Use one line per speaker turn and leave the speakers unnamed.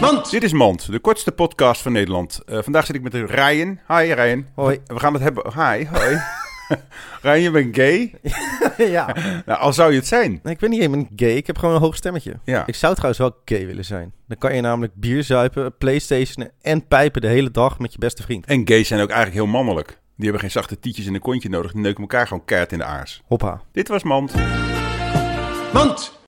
Mand!
Dit is Mand, de kortste podcast van Nederland. Eh, vandaag zit ik met Ryan. Hi Ryan.
Hoi.
We gaan het hebben... Hi, hoi. Ryan, je bent gay?
ja.
Nou, al zou je het zijn.
Nee, ik ben niet helemaal gay. Ik heb gewoon een hoog stemmetje.
Ja.
Ik zou trouwens wel gay willen zijn. Dan kan je namelijk bier zuipen, playstationen en pijpen de hele dag met je beste vriend.
En gays zijn ook eigenlijk heel mannelijk. Die hebben geen zachte tietjes in een kontje nodig. Die neuken elkaar gewoon keihard in de aars.
Hoppa.
Dit was Mand.
Mand!